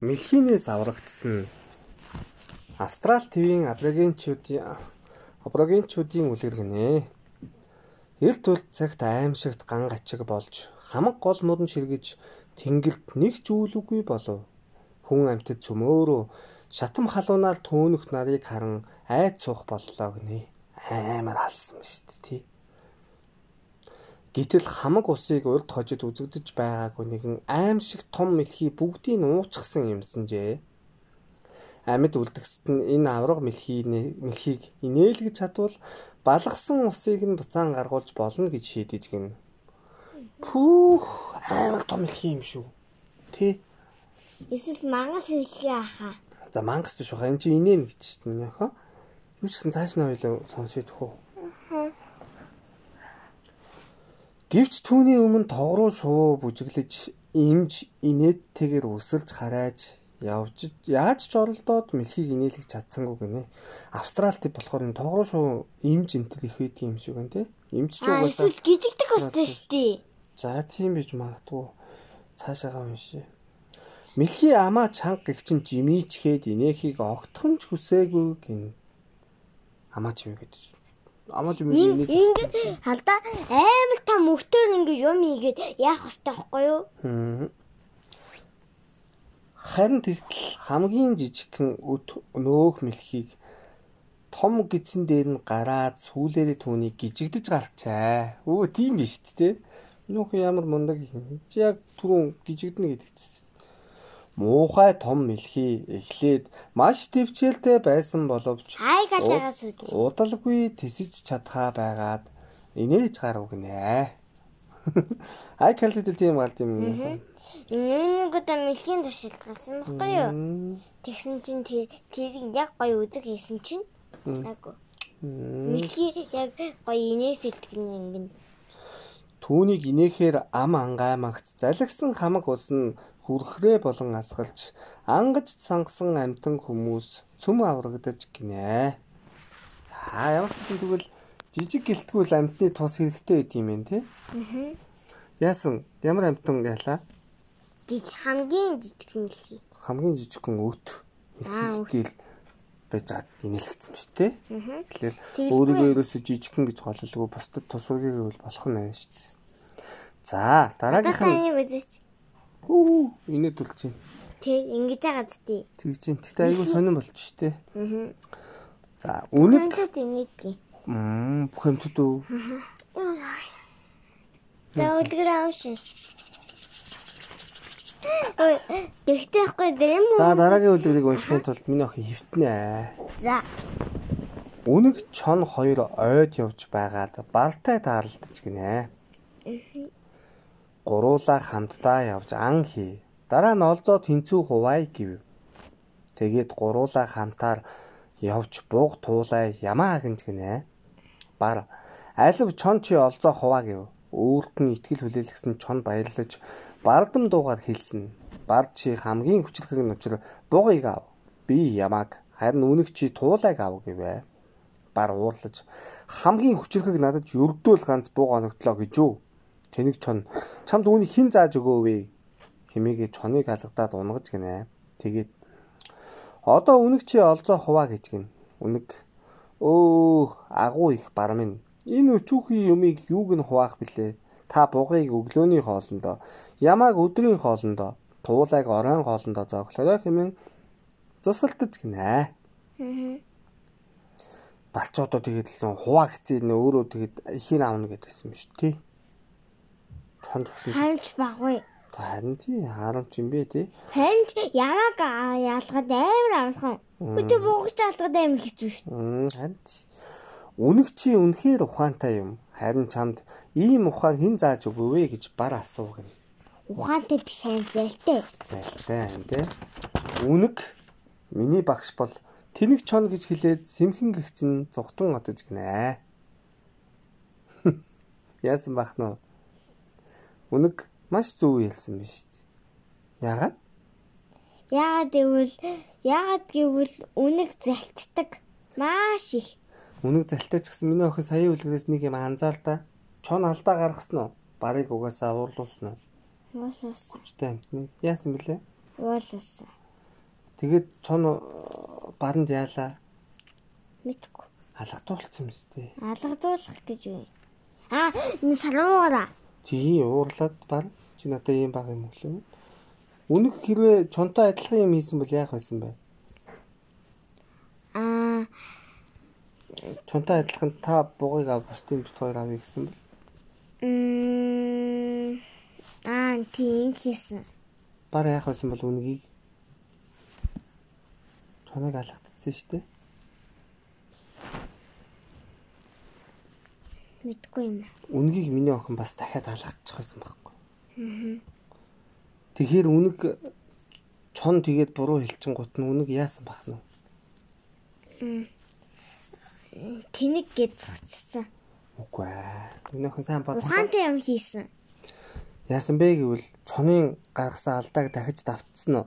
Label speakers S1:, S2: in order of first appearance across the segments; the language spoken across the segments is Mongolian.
S1: Мэлхинээс аврагдсан нь Австрал ТВ-ийн аборигенчүүдийн аборигенчүүдийн үлгэр гинэ. Эрт үл цагт аимшигт ган ачиг болж хамаг гол мөрөн ширгэж тэнгилд нэг ч үйл үгүй болов. Хүн амтд цөмөөрөө шатам халуунаар төөнөх нарыг харан айд суух боллоо гинэ. Аймаар халсан шүү дээ тий. Гэтэл хамаг усыг урд хожид үзэгдэж байгаагүй нэгэн аимшиг том мэлхий бүгдийг нь уучсан юмсанжээ амьд үлдгэсэд нь энэ авраг мэлхий мэлхийг инээлгэж чадвал балгасан усыг нь буцаан гаргуулж болно гэж шийдэж гин. Пүүх амар том мэлхий юм шүү. Тэ.
S2: Эсвэл мангас хэлээ аха.
S1: За мангас биш баха энэ чинь инээн гэж чинь яхаа. Юу ч гэсэн цааш нь ойлоо сонсох хөө. Гэвч түүний өмнө тогруу шуу бүжиглэж имж инээдтэйгэр үсэлж хараач явж яаж ч оролдоод мэлхийг инээлгэж чадсангүй гинэ. Австрал төв болохоор энэ тогруу шуу имж энтер их байдаг юм шиг байна тий. Имж ч
S2: Аа
S1: угаасаа
S2: эсвэл гизэгдэх өстэй шүү дээ.
S1: за тийм биж магадгүй цаашаагаа уншия. Мэлхий амаа чанга гихчин жимичгээд инээхийг огтхон ч хүсээгүй гин. Амаа жимий гэдэг. Амаа жимий
S2: Ин-
S1: инээж.
S2: Ингээд халдаа амар том мөхтөр ингээд юм игээд яах өстэй байхгүй юу?
S1: Мгм. Харин тэгтэл хамгийн жижигхэн өт нөөх мэлхийг том гидсэн дээр нь гараад сүүлээрээ түүний гижигдэж гарчаа. Өө тийм биш үү те. Нөх ямар мундаг юм. Чи яг түрүүн гижигднэ гэдэг чинь. Муухай том мэлхий эхлээд маш төвчлөлтэй байсан боловч
S2: Хай галаагаас үз.
S1: Удалгүй тесэж чадхаа байгаад инээж гарав гинэ. Ай калдэл тийм гал тийм юм.
S2: Нэг удаа мэлхийн тушилд гарсан байхгүй юу?
S1: Мм.
S2: Тэгсэн чинь тэр тэрийг яг гоё үзэг хийсэн чинь яг гоо. мэлхий яг гоё инээс илтгэн ингээд
S1: Түүнийг инээхээр ам ангаа магц залгсан хамаг ус нь хүрхрээ болон асгалж ангаж сангасан амтан хүмүүс цөм аврагдаж гинэ. Аа ямар ч гэсэн тэгвэл жижиг гэлтгүүл амтны тус хэрэгтэй байд юм бэ тий? Аа. Яасан ямар амтан ялаа?
S2: жиж хамгийн жижиг мэлхий.
S1: хамгийн жижигхэн өт
S2: Аа, өт.
S1: гэл байж гад инээлгдсэн шүү дээ. Тэгэхээр
S2: Тэгэлгүй.
S1: өөрийгөө ерөөсө жижигхэн гэж голлолгүй бусдад тусваргийг бол болох нь байна шүү дээ. За,
S2: Одоохоо
S1: дараагийнх нь
S2: энийг үзэж
S1: Хүү, инээд үлж чинь.
S2: тэг ингэж байгаа зү.
S1: Тэгж чинь. Гэтэ айгүй сонирн болж шүү дээ. Аа. За, үнэг
S2: Хантад инээдгий.
S1: мм бүхэмтд үү?
S2: За үлгэр авшин. Ой, Тэгтэй ихгүй зарим үү?
S1: За, дараагийн үлгэрийг уншихын тулд миний охин хөвтнэ.
S2: За.
S1: Үнэг чон хоёр ойд явж байгаад балтай тааралдаж гинэ. Гуруулаа хамтдаа явж ан хий. Дараа нь олзоо тэнцүү хувай гэв. Тэгээд гуруулаа хамтаар явж бууг туулай ямаа гинж гинэ. Бар алив чон чи олзоо хуваа гэв. Өөрт нь ихтгэл хүлээлгэсэн чон баярлаж бардам дуугаар хэлсэн. Бар чи хамгийн хүчлэхэг нь учир буугыг ав. Би ямааг харин үнэг чи туулайг ав гэвэ бар уурлаж хамгийн хүчрэхэг надад өргдөөл ганц бууга оногтлоо гэж юу. Тэнийг чон чамд үүний хэн зааж өгөөв хэмээгээ чоныг алгадаад унгаж гинэ. Тэгээд одоо үнэг чи олзоо хуваа гэж гин. Үнэг өө агуу их бар минь. Энэ өчүүхий юмыг юуг нь хуваах билээ? Та бугыг өглөөний хоолндоо, ямааг өдрийн хоолндоо, туулайг оройн хоолндоо зооглорой хэмээн зусалтж гинэ. Балчуудаа тэгээд л нөө хуваа гэцээ нөө өөрөө тэгээд ихийн аавна гэдэгсэн юм шүү тий. Чон төгсөн.
S2: Ханч баггүй.
S1: Харин тий харамч юм бэ тий.
S2: Ханч ямаг аа, ялгад амар амархан. Өтө буугч ялгад амар хэцүү шүү.
S1: Мм, Харин ч- үнэг чи үнэхээр ухаантай юм. Харин чамд ийм ухаан хэн зааж өгөвэ гэж бар асуув гэнэ.
S2: Ухаантай биш ам зэлтэй.
S1: Зайлтай юм те. Үнэг миний багш бол тэнэг чон гэж хэлээд сэмхэн гихчин зүгтэн отож гинэ. Яасан бах нь. Үнэг маш зөв хэлсэн биз дээ. Ягаад?
S2: Яагаад гэвэл яагаад гэвэл үнэг зэлтдэг. Маш их.
S1: Үнэг залтай ч гэсэн миний охин сая үлгэрээс нэг юм анзаал та. Чон алдаа гаргасан уу? Барыг угаасаа уурлуулсан уу?
S2: Уус уус.
S1: Хүчтэй амтны. Яасан бэлээ?
S2: Уус уус.
S1: Тэгээд чон э, баранд яалаа.
S2: мэдгүй.
S1: Алгатуулсан юм зү.
S2: Алгадуулах гэж үү. Аа, энэ салуугаараа.
S1: Тийм уурлаад бар. Чи надад ийм баг юм өглөө. Үнэг хэрвээ чонтой адилхан юм хийсэн бол яах байсан бэ?
S2: Аа,
S1: Чонтой адилхан та бугыг ав бусдын бит хоёр авъя гэсэн бол
S2: мм. Аа, тийм хийсэн.
S1: бар яах байсан бол үнийг чоныг алгатцсан шүү дээ.
S2: Мэдгүй юм.
S1: үнгийг миний охин бас дахиад алгачих байсан байхгүй. Тэгэхээр үнэг чон тэгээд буруу хэлчин гут нь үнэг яасан байх нь?
S2: Тэнэг гэж цуцсан.
S1: Үгүй ээ. Миний охин сайн бодсон.
S2: Ухаантай юм хийсэн.
S1: Яасан бэ гэвэл чонын гаргасан алдааг дахиж давтсан уу?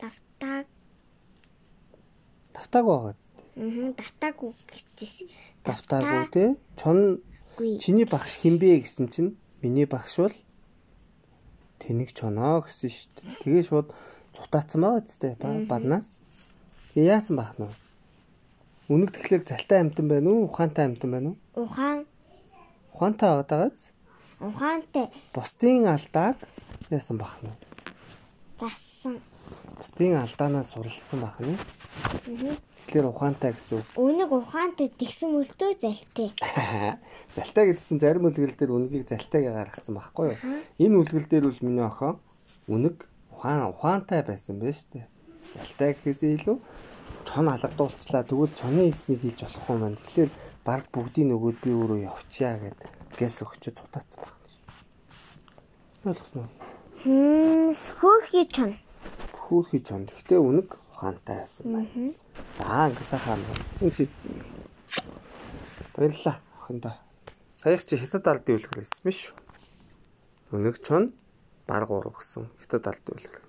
S2: Давтааг,
S1: Давтаагүй байгаа зү.
S2: мм, датаагүй гэжсэн.
S1: Давтаагүй тий. Чон
S2: Гүй.
S1: чиний багш хинбэ гэсэн чинь миний багш бол тэнэг чоноо гэсэн шүү дээ. Тэгээ шууд цутаацсан байгаа ч дээ ба баднаас. Тэгээ яасан бах нь? Үнэг тэгэхээр залтай амтан байна уу? Ухаантай амтан байна уу?
S2: Ухаан,
S1: Ухаантай байгаадагаач.
S2: ухаантай
S1: Бусдын алдааг яасан бах нь?
S2: зассан.
S1: Бусдын алдаанаас суралцсан бах нь. Тэгэхээр ухаантай гэсэн үг.
S2: Өнөг ухаантай тэгсэн мөлтөө залтай.
S1: Залтай гэдсэн зарим үлгэрэл дээр үнгийг залтайгаа гаргацсан байхгүй юу? Энэ үлгэрэл дээр бол миний охин үнэг ухаан ухаантай байсан байж тээ. Залтай гэхээсээ илүү чон алгадуулцлаа тэгвэл чоны эзнийг хийж болохгүй юм байна. Тэгэхээр баг бүгдийн нөгөөд би өөрөө явчихъя гэд гэс өгч тутаацсан байна. Ойлгосноо.
S2: Хм, хөөхий чон.
S1: Хөөхий чон. Гэхдээ үнэг ухаантай байсан байна. За ингэ сайхан байна. Үнсээ. Баярлалаа охиндоо. Саяг чи хятад ардын үлгэр хэлсэн биз шүү. Үнэг чон баг 3 гэсэн хятад ардын үлгэр.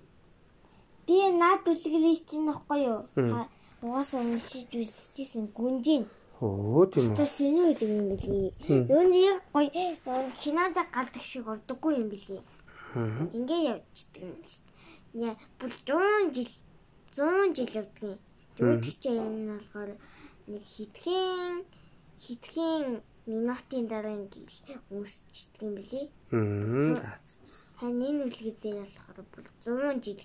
S2: Би наад үлгэлээс чинь ахгүй юу? Угаас уншиж үзчихсэн гүнжин.
S1: Өө тийм үү.
S2: Тэ сэний үлгэр юм бэлий. Юуны гоё кинода галдаг шиг урдаггүй юм бэлий. Ингээ явчихдаг юм шүү дээ. Яа, бүр 100 жил 100 жил явдаг юм. Төвч энэ болохоор нэг хитгэн хитгэн минутын дараа ингээл үсчихдэг юм бэлий.
S1: Мм. за, за, за.
S2: Харин энэ үлгэр дээр болохоор бүр 100 жил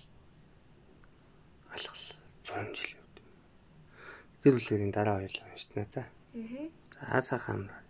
S1: Ойлголоо. 100 жил явд. Тэр үлгэрийн дараа хоёул уншнаа за. Аа. За сайхан амраа.